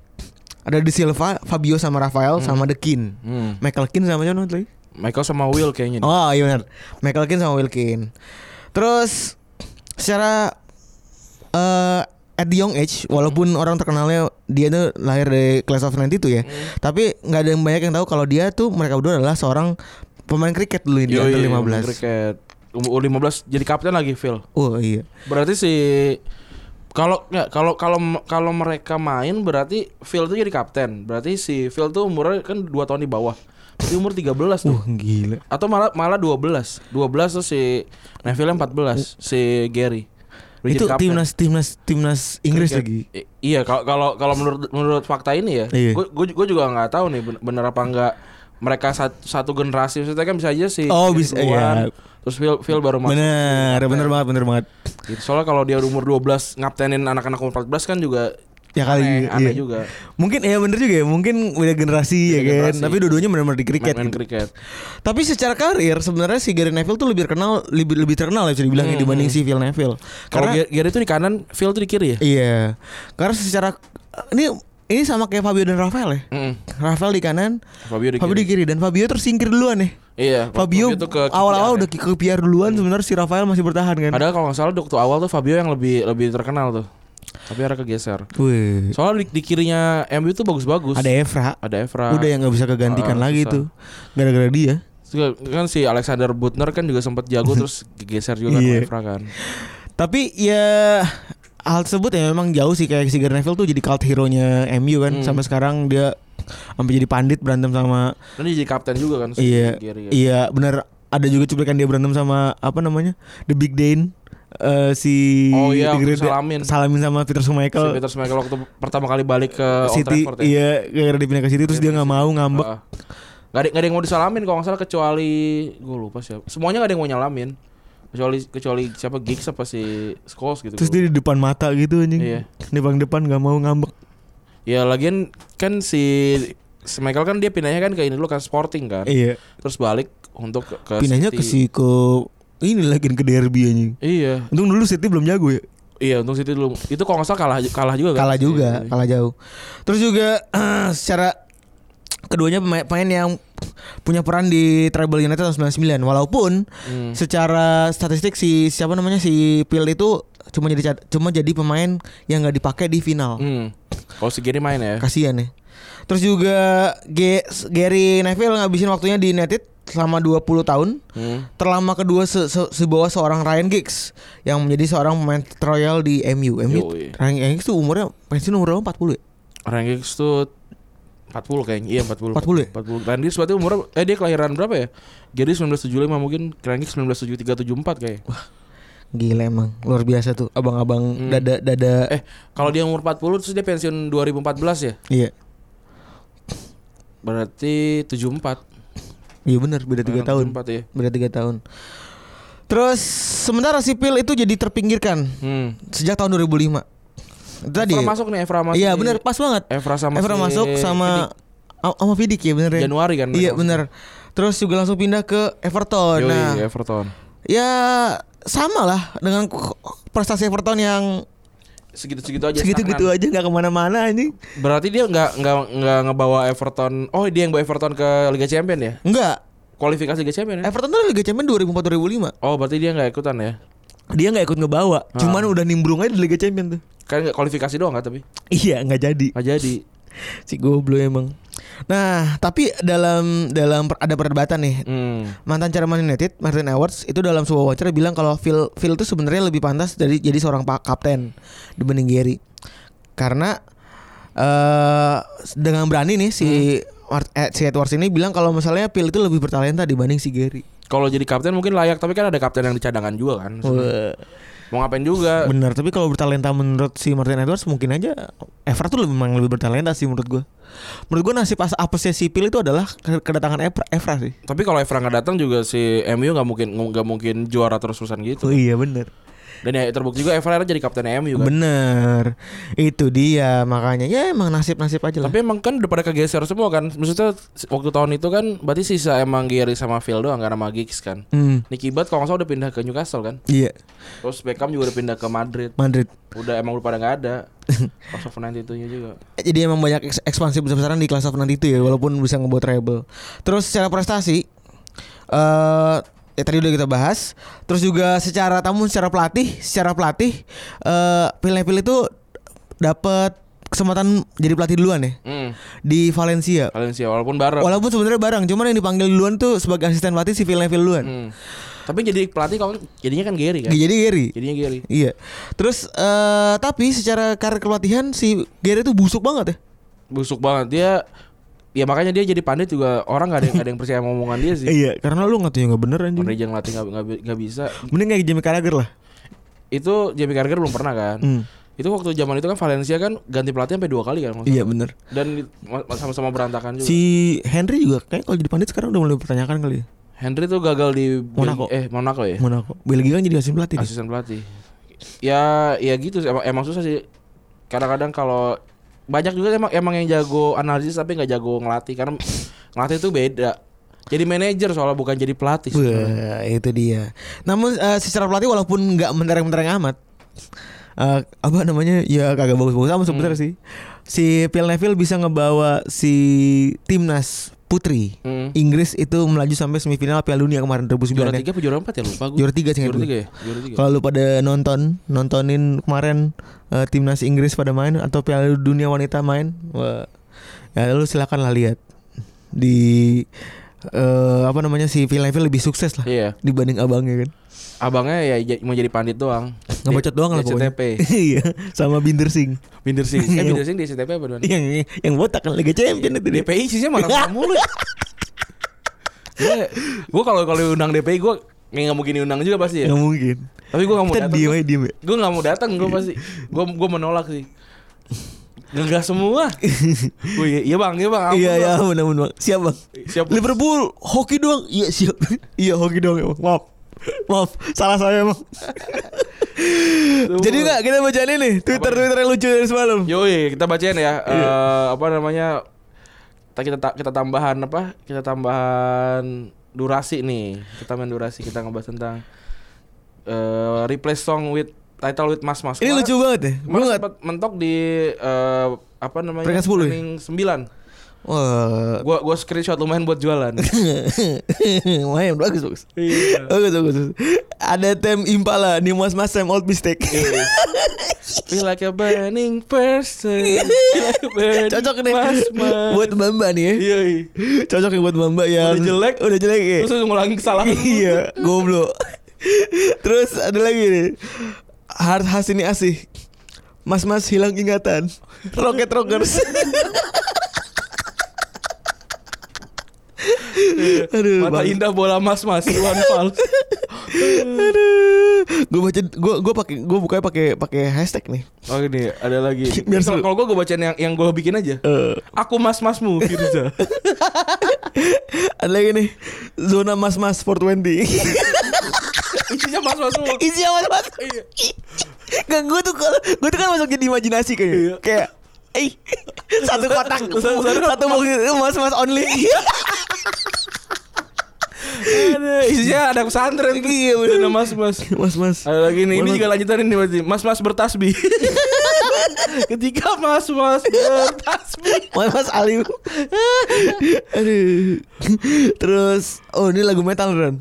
[SPEAKER 3] ada De Silva Fabio sama Rafael sama The Kin
[SPEAKER 2] Hmm.
[SPEAKER 3] Michael Kin sama John Huntley
[SPEAKER 2] Michael sama Will kayaknya. nih.
[SPEAKER 3] Oh iya benar. Michael Keane sama Wilkin. Terus secara eh at the young age walaupun
[SPEAKER 2] Hmm.
[SPEAKER 3] orang terkenalnya dia tuh lahir dari class of 92 ya.
[SPEAKER 2] Hmm.
[SPEAKER 3] Tapi nggak ada yang banyak yang tahu kalau dia tuh mereka berdua adalah seorang pemain kriket dulu di
[SPEAKER 2] Yoi,
[SPEAKER 3] under
[SPEAKER 2] pemain
[SPEAKER 3] 15.
[SPEAKER 2] Kriket. Umur 15 jadi kapten lagi, Phil.
[SPEAKER 3] Oh iya.
[SPEAKER 2] Berarti si kalau nggak kalau kalau kalau mereka main berarti Phil tuh jadi kapten. Berarti si Phil tuh umurnya kan 2 tahun di bawah. Berarti umur 13 tuh.
[SPEAKER 3] Wah, gila.
[SPEAKER 2] Atau malah malah 12. 12 tuh si Neville 14, si Gary. Udah
[SPEAKER 3] Itu
[SPEAKER 2] jadi kapten.
[SPEAKER 3] timnas timnas timnas Inggris
[SPEAKER 2] Kayak-
[SPEAKER 3] lagi.
[SPEAKER 2] i- Iya, kalau kalau kalau menurut menurut fakta ini ya,
[SPEAKER 3] Iya.
[SPEAKER 2] gue gue juga nggak tahu nih ben- bener apa enggak mereka sat- satu, generasi maksudnya kan bisa aja sih
[SPEAKER 3] Oh, bisa, iya.
[SPEAKER 2] terus Phil Phil baru masuk
[SPEAKER 3] Bener, bener banget, bener banget.
[SPEAKER 2] gitu. soalnya kalau dia umur 12 ngaptenin anak-anak umur 14 kan juga
[SPEAKER 3] ya kali
[SPEAKER 2] Aneh,
[SPEAKER 3] iya.
[SPEAKER 2] aneh juga.
[SPEAKER 3] mungkin ya bener juga ya mungkin beda generasi ya kan
[SPEAKER 2] generasi.
[SPEAKER 3] tapi dua-duanya benar-benar di kriket
[SPEAKER 2] main
[SPEAKER 3] gitu.
[SPEAKER 2] kriket.
[SPEAKER 3] tapi secara karir sebenarnya si Gary Neville tuh lebih terkenal lebih lebih terkenal ya bisa dibilang ya, dibanding si Phil Neville
[SPEAKER 2] Hmm. Kalau
[SPEAKER 3] karena
[SPEAKER 2] Gary itu di kanan, Phil tuh di kiri ya.
[SPEAKER 3] iya karena secara ini ini sama kayak Fabio dan Rafael ya
[SPEAKER 2] Mm.
[SPEAKER 3] Rafael di kanan
[SPEAKER 2] Fabio di
[SPEAKER 3] Fabio
[SPEAKER 2] kiri.
[SPEAKER 3] di kiri dan Fabio tersingkir duluan nih
[SPEAKER 2] Iya.
[SPEAKER 3] Fabio,
[SPEAKER 2] tuh ke-
[SPEAKER 3] awal-awal udah ke PR duluan
[SPEAKER 2] Hmm.
[SPEAKER 3] sebenarnya si Rafael masih bertahan kan.
[SPEAKER 2] Padahal kalau nggak salah waktu awal tuh Fabio yang lebih lebih terkenal tuh. Tapi akhirnya kegeser.
[SPEAKER 3] Wih,
[SPEAKER 2] Soalnya di, di kirinya MU tuh bagus-bagus.
[SPEAKER 3] ada Evra.
[SPEAKER 2] Ada Evra.
[SPEAKER 3] Udah ya? yang nggak bisa kegantikan
[SPEAKER 2] Ah,
[SPEAKER 3] lagi
[SPEAKER 2] susah.
[SPEAKER 3] tuh. Gara-gara dia.
[SPEAKER 2] Juga- kan si Alexander Butner kan juga sempat
[SPEAKER 3] <laughs>
[SPEAKER 2] jago terus geser juga kan
[SPEAKER 3] Iya.
[SPEAKER 2] sama Evra kan.
[SPEAKER 3] Tapi ya hal tersebut ya memang jauh sih kayak si Gary Neville tuh jadi cult hero-nya MU kan
[SPEAKER 2] Hmm.
[SPEAKER 3] sampai sekarang dia sampai jadi pandit berantem sama
[SPEAKER 2] Dan dia jadi kapten juga kan si
[SPEAKER 3] iya
[SPEAKER 2] Gary kan.
[SPEAKER 3] iya benar ada juga cuplikan dia berantem sama apa namanya The Big Dane eh, si
[SPEAKER 2] Oh iya,
[SPEAKER 3] The Great-
[SPEAKER 2] Salamin.
[SPEAKER 3] salamin sama Peter
[SPEAKER 2] Si
[SPEAKER 3] Schmeichel
[SPEAKER 2] Peter Schmeichel waktu pertama kali balik ke Old
[SPEAKER 3] City
[SPEAKER 2] Trafford ya.
[SPEAKER 3] iya gara-gara dipindah ke City terus dia nggak mau ngambek
[SPEAKER 2] Ah. Nggak ada, nggak ada yang mau disalamin kalau nggak salah kecuali gue lupa siapa. Semuanya nggak ada yang mau nyalamin. Kecuali kecuali siapa Giggs apa si Scholes gitu.
[SPEAKER 3] Terus dia di depan mata gitu anjing.
[SPEAKER 2] Iya.
[SPEAKER 3] Di paling depan gak mau ngambek.
[SPEAKER 2] Ya lagian kan si si Michael kan dia pindahnya kan ke ini dulu kan Sporting kan.
[SPEAKER 3] Iya.
[SPEAKER 2] Terus balik untuk ke, ke
[SPEAKER 3] Pindahnya ke si ke ini lagi ke derby anjing.
[SPEAKER 2] Iya,
[SPEAKER 3] Untung dulu City belum jago ya.
[SPEAKER 2] iya untuk City dulu. Itu kalau nggak salah kalah kalah juga kan.
[SPEAKER 3] Kalah
[SPEAKER 2] si-
[SPEAKER 3] juga, kalah jauh. Terus juga <clears throat> secara keduanya pemain pemain yang punya peran di Treble United tahun 99 walaupun
[SPEAKER 2] Hmm.
[SPEAKER 3] secara statistik si siapa namanya si Phil itu cuma jadi cad- cuma jadi pemain yang nggak dipakai di final.
[SPEAKER 2] Hmm. Kalau si Gary main ya.
[SPEAKER 3] Kasihan ya. Terus juga Ge- Gary Neville ngabisin waktunya di United selama 20 tahun.
[SPEAKER 2] Hmm.
[SPEAKER 3] Terlama kedua se se- sebawah seorang Ryan Giggs yang menjadi seorang pemain trial di MU. MU
[SPEAKER 2] Yoi.
[SPEAKER 3] Ryan Giggs tuh umurnya pensiun umurnya 40 ya?
[SPEAKER 2] Orang Giggs tuh 40 kayaknya. Iya, 40.
[SPEAKER 3] 40 ya?
[SPEAKER 2] 40. Dan dia berarti umur eh dia kelahiran berapa ya? Gary 1975 mungkin Keren Giggs 1973 74 kayak.
[SPEAKER 3] Gila emang luar biasa tuh abang-abang dada dada
[SPEAKER 2] Eh, kalau dia umur 40 terus dia pensiun 2014 ya?
[SPEAKER 3] iya.
[SPEAKER 2] Berarti 74.
[SPEAKER 3] Iya benar beda 3 tahun.
[SPEAKER 2] 74 ya.
[SPEAKER 3] Beda 3 tahun. Terus sementara si Phil itu jadi terpinggirkan
[SPEAKER 2] Hmm.
[SPEAKER 3] sejak tahun 2005. Itu tadi.
[SPEAKER 2] Evra masuk nih Evra masuk.
[SPEAKER 3] Iya
[SPEAKER 2] nih.
[SPEAKER 3] benar pas banget.
[SPEAKER 2] Evra sama
[SPEAKER 3] Evra
[SPEAKER 2] si
[SPEAKER 3] masuk sama a- sama Vidic ya bener ya.
[SPEAKER 2] Januari kan mereka
[SPEAKER 3] Iya
[SPEAKER 2] masuk.
[SPEAKER 3] bener. Terus juga langsung pindah ke Everton.
[SPEAKER 2] Yoi,
[SPEAKER 3] nah,
[SPEAKER 2] Everton.
[SPEAKER 3] ya sama lah dengan k- prestasi Everton yang
[SPEAKER 2] Segitu-segitu aja.
[SPEAKER 3] segitu-gitu
[SPEAKER 2] stagnan.
[SPEAKER 3] aja nggak kemana-mana anjing.
[SPEAKER 2] Berarti dia nggak nggak nggak ngebawa Everton. Oh, dia yang bawa Everton ke Liga Champion ya?
[SPEAKER 3] Enggak.
[SPEAKER 2] Kualifikasi Liga Champion ya?
[SPEAKER 3] Everton tuh Liga Champions 2004 2005.
[SPEAKER 2] Oh, berarti dia nggak ikutan ya?
[SPEAKER 3] Dia nggak ikut ngebawa, cuman udah nimbrung aja di Liga Champions tuh.
[SPEAKER 2] Kan nggak kualifikasi doang kan tapi
[SPEAKER 3] Iya, nggak jadi.
[SPEAKER 2] nggak jadi.
[SPEAKER 3] Si goblok emang. Nah, tapi dalam dalam per- ada perdebatan nih
[SPEAKER 2] Hmm.
[SPEAKER 3] mantan chairman United Martin Edwards itu dalam sebuah wawancara bilang kalau Phil Phil itu sebenarnya lebih pantas dari jadi seorang pak kapten dibanding Gary karena eh dengan berani nih si Mart- eh, si Edwards ini bilang kalau misalnya Phil itu lebih bertalenta dibanding si Gary.
[SPEAKER 2] Kalau jadi kapten mungkin layak, tapi kan ada kapten yang dicadangkan juga kan. Maksudnya,
[SPEAKER 3] Wah,
[SPEAKER 2] Mau ngapain juga?
[SPEAKER 3] Benar, tapi kalau bertalenta menurut si Martin Edwards mungkin aja Evra tuh lebih- memang lebih bertalenta sih menurut gua. Menurut gua nasib as- apesnya si Phil itu adalah ke- kedatangan Evra, Evra sih.
[SPEAKER 2] Tapi kalau Evra nggak datang juga si MU nggak mungkin nggak mungkin juara terus-terusan gitu.
[SPEAKER 3] Oh iya bener
[SPEAKER 2] Dan ya terbukti juga Evra akhirnya jadi kapten MU kan.
[SPEAKER 3] Bener Itu dia makanya Ya emang nasib-nasib aja lah
[SPEAKER 2] Tapi emang kan udah pada kegeser semua kan. Maksudnya waktu tahun itu kan berarti sisa emang Gary sama Phil doang karena sama Giggs kan.
[SPEAKER 3] Hmm,
[SPEAKER 2] Nicky Butt kalau nggak salah udah pindah ke Newcastle kan.
[SPEAKER 3] iya
[SPEAKER 2] Terus Beckham juga udah pindah ke Madrid.
[SPEAKER 3] Madrid.
[SPEAKER 2] Udah emang udah pada nggak
[SPEAKER 3] <laughs>
[SPEAKER 2] ada. Pas of 92-nya juga.
[SPEAKER 3] Jadi emang banyak eks- ekspansi besar-besaran di kelas of nanti itu ya, walaupun bisa ngebuat treble. Terus secara prestasi, eh ya tadi udah kita bahas. Terus juga secara tamu, secara pelatih, secara pelatih, eh pilih-pilih itu dapat kesempatan jadi pelatih duluan ya
[SPEAKER 2] Hmm.
[SPEAKER 3] di Valencia.
[SPEAKER 2] Valencia walaupun bareng.
[SPEAKER 3] Walaupun sebenarnya bareng, cuman yang dipanggil duluan tuh sebagai asisten pelatih si Villeneuve duluan.
[SPEAKER 2] Hmm. Tapi jadi pelatih kalau jadinya kan Gary kan.
[SPEAKER 3] Jadi Gary.
[SPEAKER 2] Jadinya Gary.
[SPEAKER 3] Iya. Terus eh tapi secara karir kepelatihan si Gary tuh busuk banget ya.
[SPEAKER 2] Busuk banget dia. Ya makanya dia jadi pandit juga orang nggak ada yang nggak ada yang percaya sama omongan dia sih.
[SPEAKER 3] Iya, karena lu ngatunya nggak bener anjing.
[SPEAKER 2] Orang dia yang ngelatih nggak- nggak bi- nggak bisa.
[SPEAKER 3] Mending kayak Jamie Carragher lah.
[SPEAKER 2] Itu Jamie Carragher belum pernah kan.
[SPEAKER 3] Hmm.
[SPEAKER 2] Itu waktu zaman itu kan Valencia kan ganti pelatih sampai dua kali kan. kalau nggak
[SPEAKER 3] Iya bener.
[SPEAKER 2] salah. Dan di- ma- ma- sama-sama berantakan juga.
[SPEAKER 3] Si Henry juga kayak kalau jadi pandit sekarang udah mulai pertanyakan kali ya.
[SPEAKER 2] Henry tuh gagal di
[SPEAKER 3] Monaco.
[SPEAKER 2] eh Monaco ya.
[SPEAKER 3] Monaco. Belgia kan jadi asisten pelatih. dia.
[SPEAKER 2] Asisten pelatih. Ya ya gitu sih, emang, emang susah sih. kadang-kadang kalau banyak juga emang emang yang jago analisis tapi nggak jago ngelatih karena ngelatih itu beda. Jadi manajer soalnya bukan jadi pelatih.
[SPEAKER 3] Wah, itu dia. Namun eh, secara pelatih walaupun nggak mentereng-mentereng amat. eh, apa namanya? Ya kagak bagus-bagus amat sebenarnya
[SPEAKER 2] Hmm.
[SPEAKER 3] sih. Si Phil Neville bisa ngebawa si timnas putri
[SPEAKER 2] Hmm.
[SPEAKER 3] Inggris itu melaju sampai semifinal Piala Dunia kemarin 2009
[SPEAKER 2] Juara
[SPEAKER 3] ya.
[SPEAKER 2] tiga apa juara empat ya lupa gue.
[SPEAKER 3] Juara tiga sih,
[SPEAKER 2] Juara
[SPEAKER 3] ingat
[SPEAKER 2] tiga ya. Juara tiga.
[SPEAKER 3] Kalau lu pada nonton, nontonin kemarin eh, timnas Inggris pada main atau Piala Dunia wanita main, wah, ya lu silakan lah lihat di eh, apa namanya si Phil Neville lebih sukses lah
[SPEAKER 2] Iya.
[SPEAKER 3] dibanding abangnya kan.
[SPEAKER 2] Abangnya ya j- mau jadi pandit doang.
[SPEAKER 3] Ngebacot doang lah
[SPEAKER 2] Di
[SPEAKER 3] pokoknya.
[SPEAKER 2] SCTP.
[SPEAKER 3] <laughs> Iya, sama Binder Singh.
[SPEAKER 2] Binder Singh. Eh Binder Singh di SCTP apa duluan?
[SPEAKER 3] yang yang botak kan Liga Champion itu dia.
[SPEAKER 2] DPI sih marah-marah <laughs> mulu. Gue gue Iya. kalau kalau undang DPI gue nggak mungkin diundang juga pasti ya.
[SPEAKER 3] Nggak mungkin.
[SPEAKER 2] Tapi gue nggak mau
[SPEAKER 3] Iya. Kita
[SPEAKER 2] datang.
[SPEAKER 3] diem aja diem. ya.
[SPEAKER 2] Gue nggak mau datang gue pasti. Gue gue menolak sih. Genggas
[SPEAKER 3] <laughs>
[SPEAKER 2] semua. Wih, iya- iya bang, iya bang. ampun,
[SPEAKER 3] Iya ya,
[SPEAKER 2] Bang.
[SPEAKER 3] ampun ampun bang. Siap bang.
[SPEAKER 2] Siap.
[SPEAKER 3] Liverpool hoki doang. Iya siap. <laughs> iya hoki doang emang. Maaf. Maaf, salah saya emang. Jadi kan enggak kita bacain nih Twitter Twitter yang lucu dari semalam.
[SPEAKER 2] Yoi, kita bacain ya.
[SPEAKER 3] Iya.
[SPEAKER 2] Eh, apa namanya? Kita kita ta- kita tambahan apa? Kita tambahan durasi nih. Kita main durasi kita ngebahas tentang eh replace song with title with Mas Mas.
[SPEAKER 3] Ini lucu banget ya. Gue
[SPEAKER 2] Gue
[SPEAKER 3] nggak.
[SPEAKER 2] sempat mentok di eh, apa namanya?
[SPEAKER 3] Peringkat 10 ya?
[SPEAKER 2] Pening 9.
[SPEAKER 3] Wah. <laughs>
[SPEAKER 2] Gua gua screenshot lumayan buat jualan.
[SPEAKER 3] Lumayan bagus bagus.
[SPEAKER 2] Iya.
[SPEAKER 3] Bagus bagus. bagus. Ada tem Impala, nih Mas Mas Sam Old Mistake.
[SPEAKER 2] Iya. Feel like a burning person. Feel like a burning
[SPEAKER 3] <laughs> Cocok nih
[SPEAKER 2] Mas Mas.
[SPEAKER 3] buat Mbak Mbak nih ya.
[SPEAKER 2] Iya, iya.
[SPEAKER 3] Cocok nih buat Mbak Mbak yang
[SPEAKER 2] Udah jelek.
[SPEAKER 3] Udah jelek ya.
[SPEAKER 2] Terus ngulangi kesalahan.
[SPEAKER 3] iya, goblok. Terus ada lagi nih. Hard khas ini asih. Mas-mas hilang ingatan. Rocket Rockers. Aduh,
[SPEAKER 2] Mata
[SPEAKER 3] bang.
[SPEAKER 2] indah bola mas mas Iwan Fals.
[SPEAKER 3] Aduh. Gue baca gue gue pakai gue bukanya pakai pakai hashtag nih.
[SPEAKER 2] Oh ini ada lagi.
[SPEAKER 3] Biar
[SPEAKER 2] Kalau
[SPEAKER 3] seru.
[SPEAKER 2] kalau gue gue bacain yang yang gue bikin aja.
[SPEAKER 3] Eh,
[SPEAKER 2] Aku mas masmu Firza.
[SPEAKER 3] ada lagi nih. Zona mas-mas 420.
[SPEAKER 2] Isinya mas masmu.
[SPEAKER 3] Eh, Isi yang mas-mas. Gak gue tuh kalau gue tuh kan masuk jadi imajinasi kayaknya.
[SPEAKER 2] Iya.
[SPEAKER 3] Kayak eh satu kotak Iya.
[SPEAKER 2] Satu- satu-
[SPEAKER 3] satu box mas-mas only.
[SPEAKER 2] Aduh, Isinya ada pesantren. Iya benar mas mas.
[SPEAKER 3] <laughs> Mas-mas.
[SPEAKER 2] Ada lagi nih. Ini juga lanjutan ini berarti. Mas mas bertasbih. Ketika mas mas bertasbih.
[SPEAKER 3] Mas-mas Alim. <laughs> Aduh. Terus oh ini lagu metal Ran.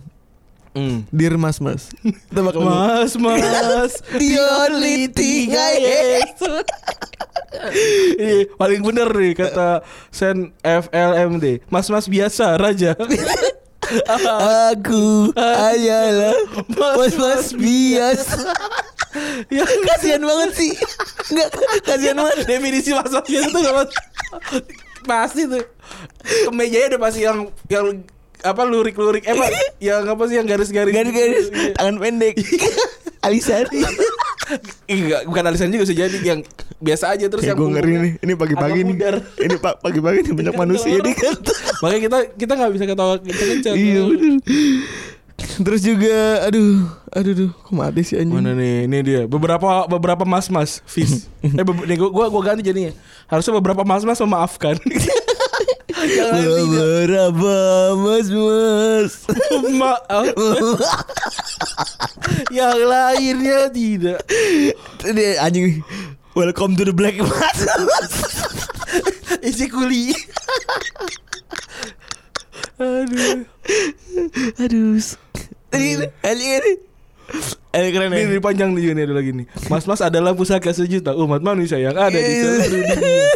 [SPEAKER 2] Hmm.
[SPEAKER 3] Dear mas-mas. Tebak lagu.
[SPEAKER 2] Mas mas.
[SPEAKER 3] The only thing I hate.
[SPEAKER 2] Iya, paling bener nih kata Sen FLMD. Mas mas biasa raja.
[SPEAKER 3] Aku hanyalah mas-mas biasa.
[SPEAKER 2] Ya
[SPEAKER 3] Kasihan banget sih. Enggak, kasihan banget.
[SPEAKER 2] definisi masak biasa tuh gak mas pasti tuh kemejanya udah pasti yang yang apa lurik-lurik eh apa yang apa sih yang garis-garis
[SPEAKER 3] Garis-garis
[SPEAKER 2] Iya.
[SPEAKER 3] tangan <laughs> pendek. Alisan.
[SPEAKER 2] Ih, enggak bukan alisan juga sih jadi yang biasa aja terus yang
[SPEAKER 3] Kayak gue ngeri
[SPEAKER 2] punggungnya
[SPEAKER 3] nih. Ini pagi-pagi
[SPEAKER 2] agak
[SPEAKER 3] nih.
[SPEAKER 2] pudar.
[SPEAKER 3] Ini pa- pagi-pagi nih banyak manusia di kantor.
[SPEAKER 2] makanya kita kita nggak bisa ketawa kenceng
[SPEAKER 3] Iya bener. Terus juga aduh, aduh duh, kok mati sih
[SPEAKER 2] Mana
[SPEAKER 3] anjing.
[SPEAKER 2] nih? Ini dia. Beberapa beberapa mas-mas fis.
[SPEAKER 3] <laughs>
[SPEAKER 2] eh be- nih, gua, gua gua ganti jadinya. Harusnya beberapa mas-mas memaafkan. <laughs> Jangan tidak.
[SPEAKER 3] Berapa mas
[SPEAKER 2] <laughs>
[SPEAKER 3] mas
[SPEAKER 2] Maaf.
[SPEAKER 3] <laughs>
[SPEAKER 2] yang lainnya tidak.
[SPEAKER 3] Ini anjing nih. Welcome to the black mas
[SPEAKER 2] <laughs> Isi kuli. Aduh.
[SPEAKER 3] Aduh Ini anjing ini Ini keren
[SPEAKER 2] Ini
[SPEAKER 3] ya
[SPEAKER 2] lebih panjang nih juga nih ada lagi nih. Mas-mas adalah pusaka sejuta Oh, umat manusia yang ada di seluruh dunia.
[SPEAKER 3] <laughs>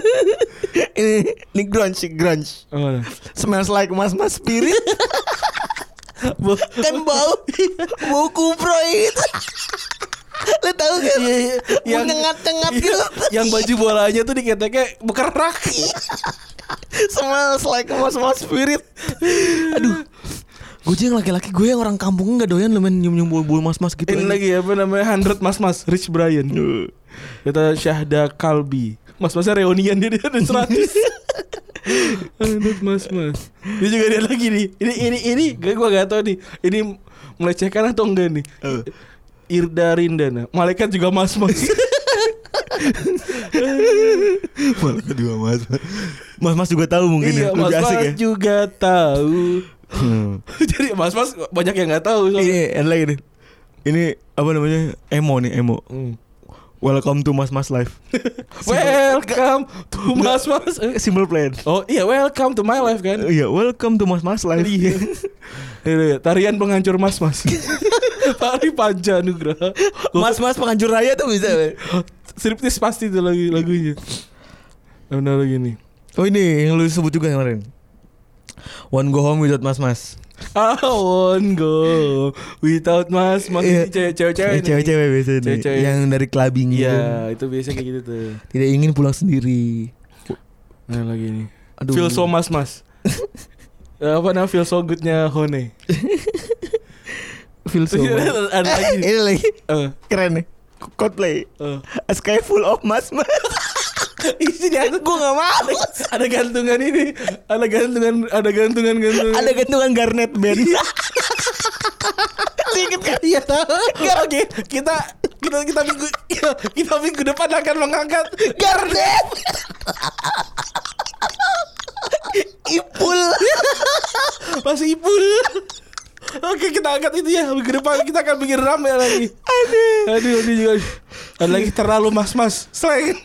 [SPEAKER 3] Ini Ini grunge grunge
[SPEAKER 2] Oh, mana?
[SPEAKER 3] Smells like mas mas spirit
[SPEAKER 2] Bo-
[SPEAKER 3] <laughs> Kan bau Bau kuproy gitu Lo tau kan Yang
[SPEAKER 2] yang- iya,
[SPEAKER 3] nyengat-nyengat gitu
[SPEAKER 2] yang baju bolanya tuh diketeknya bekerak.
[SPEAKER 3] Smells like mas mas spirit Aduh Gue yang laki-laki Gue yang orang kampung nggak doyan lo main nyium-nyium bulu-bulu mas-mas gitu
[SPEAKER 2] Ini lagi apa namanya? 100 mas-mas Rich Brian. Kata Syahda Kalbi. Mas-masnya reunian dia dia ada 100. 100 mas-mas. Dia juga ada lagi nih. Ini ini ini gue gua gak tahu nih. Ini
[SPEAKER 3] Eh.
[SPEAKER 2] melecehkan atau enggak nih? Irda Rindana. Malaikat juga mas-mas.
[SPEAKER 3] Malah kedua mas. Mas mas juga tahu mungkin
[SPEAKER 2] iya,
[SPEAKER 3] ya. Lebih
[SPEAKER 2] mas mas
[SPEAKER 3] asik ya.
[SPEAKER 2] juga tahu.
[SPEAKER 3] Hmm.
[SPEAKER 2] <laughs> Jadi mas mas banyak yang nggak tahu. soalnya.
[SPEAKER 3] Ini ada lagi nih. Ini apa namanya? Emo nih emo.
[SPEAKER 2] Hmm.
[SPEAKER 3] Welcome to Mas Mas Life.
[SPEAKER 2] Welcome to mas mas.
[SPEAKER 3] Eh, Simple plan.
[SPEAKER 2] Oh iya, welcome to my life kan.
[SPEAKER 3] Iya, welcome to Mas Mas Life.
[SPEAKER 2] Iya. Iya, Tarian penghancur mas <laughs> mas. Tari Pancanugraha.
[SPEAKER 4] Mas mas penghancur raya tuh bisa. weh.
[SPEAKER 2] Striptis pasti itu lagi lagunya. Benar lagi nih.
[SPEAKER 3] Oh ini yang lu sebut juga yang kemarin.
[SPEAKER 4] One go home without mas mas.
[SPEAKER 2] I won't go without mas mas
[SPEAKER 3] Iya.
[SPEAKER 2] ini cewek-cewek nih.
[SPEAKER 3] Cewek-cewek biasanya nih,
[SPEAKER 2] Cewek-cewek.
[SPEAKER 3] yang dari clubbing gitu.
[SPEAKER 2] Iya, itu biasanya kayak gitu tuh.
[SPEAKER 3] Tidak ingin pulang sendiri.
[SPEAKER 2] Nah, lagi nih.
[SPEAKER 3] Aduh.
[SPEAKER 2] Feel so mas <laughs> mas. Eh, Apa namanya feel so goodnya Hone.
[SPEAKER 3] Feel so. much.
[SPEAKER 2] <laughs> Ada lagi.
[SPEAKER 3] ini lagi
[SPEAKER 2] Eh,
[SPEAKER 3] keren nih. Coldplay.
[SPEAKER 2] eh.
[SPEAKER 3] A sky full of Mas
[SPEAKER 2] <laughs>
[SPEAKER 3] Mas.
[SPEAKER 2] Isi di atas gue gak mau Ada gantungan ini Ada gantungan Ada gantungan gantungan
[SPEAKER 3] Ada gantungan Garnet Band.
[SPEAKER 2] sedikit kan Iya tahu Enggak <laughs> oke Kita kita kita minggu <laughs> ya, kita minggu depan akan <laughs> mengangkat Garnet Ipul Masih Ipul <laughs> Oke kita angkat itu ya Minggu depan kita akan bikin rame lagi Aduh Aduh aduh juga Ada lagi terlalu mas-mas Slang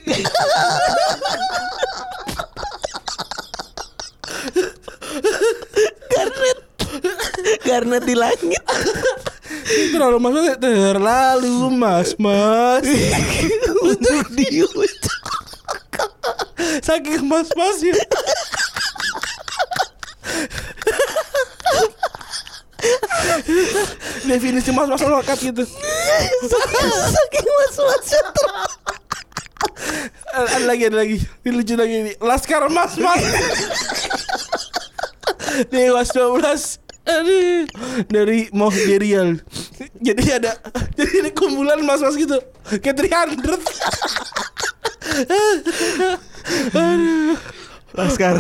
[SPEAKER 4] Karena di langit.
[SPEAKER 2] <laughs> Terlalu mas-mas Terlalu <laughs> mas-mas
[SPEAKER 4] Untuk diucap.
[SPEAKER 2] Saking mas-masnya Definisi mas-mas lengkap gitu
[SPEAKER 4] Iya, Saking mas mas
[SPEAKER 2] ada, ada lagi, ada lagi Ini lucu lagi ini Laskar mas-mas Dewas 12 Aduh. Dari Moh Gerial Jadi ada Jadi ini kumpulan mas-mas gitu Kayak 300 <laughs>
[SPEAKER 3] Laskar.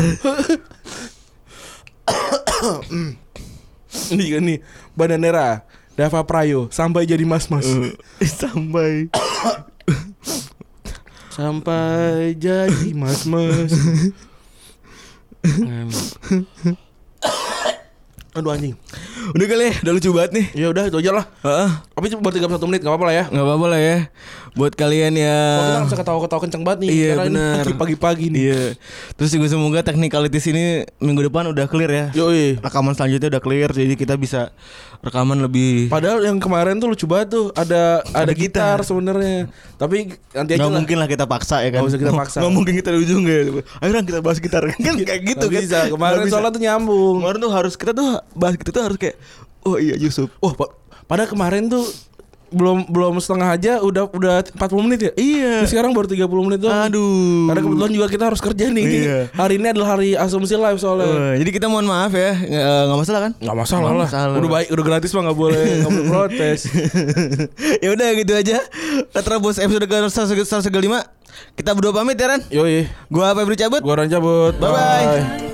[SPEAKER 2] Ini kan nih Bandanera Dava Prayo Sampai jadi mas-mas
[SPEAKER 3] Uh. Sampai
[SPEAKER 2] Sampai jadi mas mas Aduh anjing
[SPEAKER 3] Udah kali ya Udah lucu banget nih
[SPEAKER 2] Ya udah itu aja lah
[SPEAKER 3] Heeh.
[SPEAKER 2] Tapi cuma baru 31 menit gak apa-apa lah ya
[SPEAKER 3] Gak apa-apa lah ya Buat kalian
[SPEAKER 2] Kalau kita
[SPEAKER 3] yang
[SPEAKER 2] bisa ketawa-ketawa kenceng banget nih
[SPEAKER 3] Ah. Iya,
[SPEAKER 2] ini
[SPEAKER 3] bener.
[SPEAKER 2] lagi pagi-pagi nih
[SPEAKER 3] Iya Terus juga semoga technicalities ini Minggu depan udah clear ya
[SPEAKER 2] Yoi
[SPEAKER 3] Rekaman selanjutnya udah clear Jadi kita bisa Rekaman lebih
[SPEAKER 2] Padahal yang kemarin tuh lucu banget tuh ada ada gitar,
[SPEAKER 3] gitar.
[SPEAKER 2] sebenarnya. Tapi nanti aja lah.
[SPEAKER 3] Gak mungkin lah kita paksa ya kan
[SPEAKER 2] Nggak usah
[SPEAKER 3] <laughs>
[SPEAKER 2] kita paksa.
[SPEAKER 3] Gak mungkin kita di ujung ya Ayo Ran, kita bahas gitar Kan kayak gitu
[SPEAKER 2] Nggak
[SPEAKER 3] kan
[SPEAKER 2] bisa. Kemarin
[SPEAKER 3] Nggak bisa.
[SPEAKER 2] soalnya tuh nyambung.
[SPEAKER 3] Kemarin tuh harus Kita tuh bahas gitu tuh harus kayak Oh iya Yusuf
[SPEAKER 2] Wah, pa- padahal kemarin tuh belum belum setengah aja udah udah 40 menit ya?
[SPEAKER 3] Iya
[SPEAKER 2] Terus sekarang baru 30 menit tuh.
[SPEAKER 3] Aduh
[SPEAKER 2] Karena kebetulan juga kita harus kerja nih.
[SPEAKER 3] Iya.
[SPEAKER 2] Hari ini adalah hari asumsi live soalnya.
[SPEAKER 3] Eh, Jadi kita mohon maaf ya Nggak nggak masalah kan
[SPEAKER 2] Gak masalah
[SPEAKER 3] Nggak
[SPEAKER 2] lah. Udah baik, udah gratis mah gak boleh, gak boleh protes.
[SPEAKER 3] ya udah gitu aja. Terus episode ke 135. Kita berdua pamit ya Ran.
[SPEAKER 2] Yoi,
[SPEAKER 3] Gua Febri cabut.
[SPEAKER 2] gua Ran cabut.
[SPEAKER 3] Bye-bye.
[SPEAKER 2] Bye.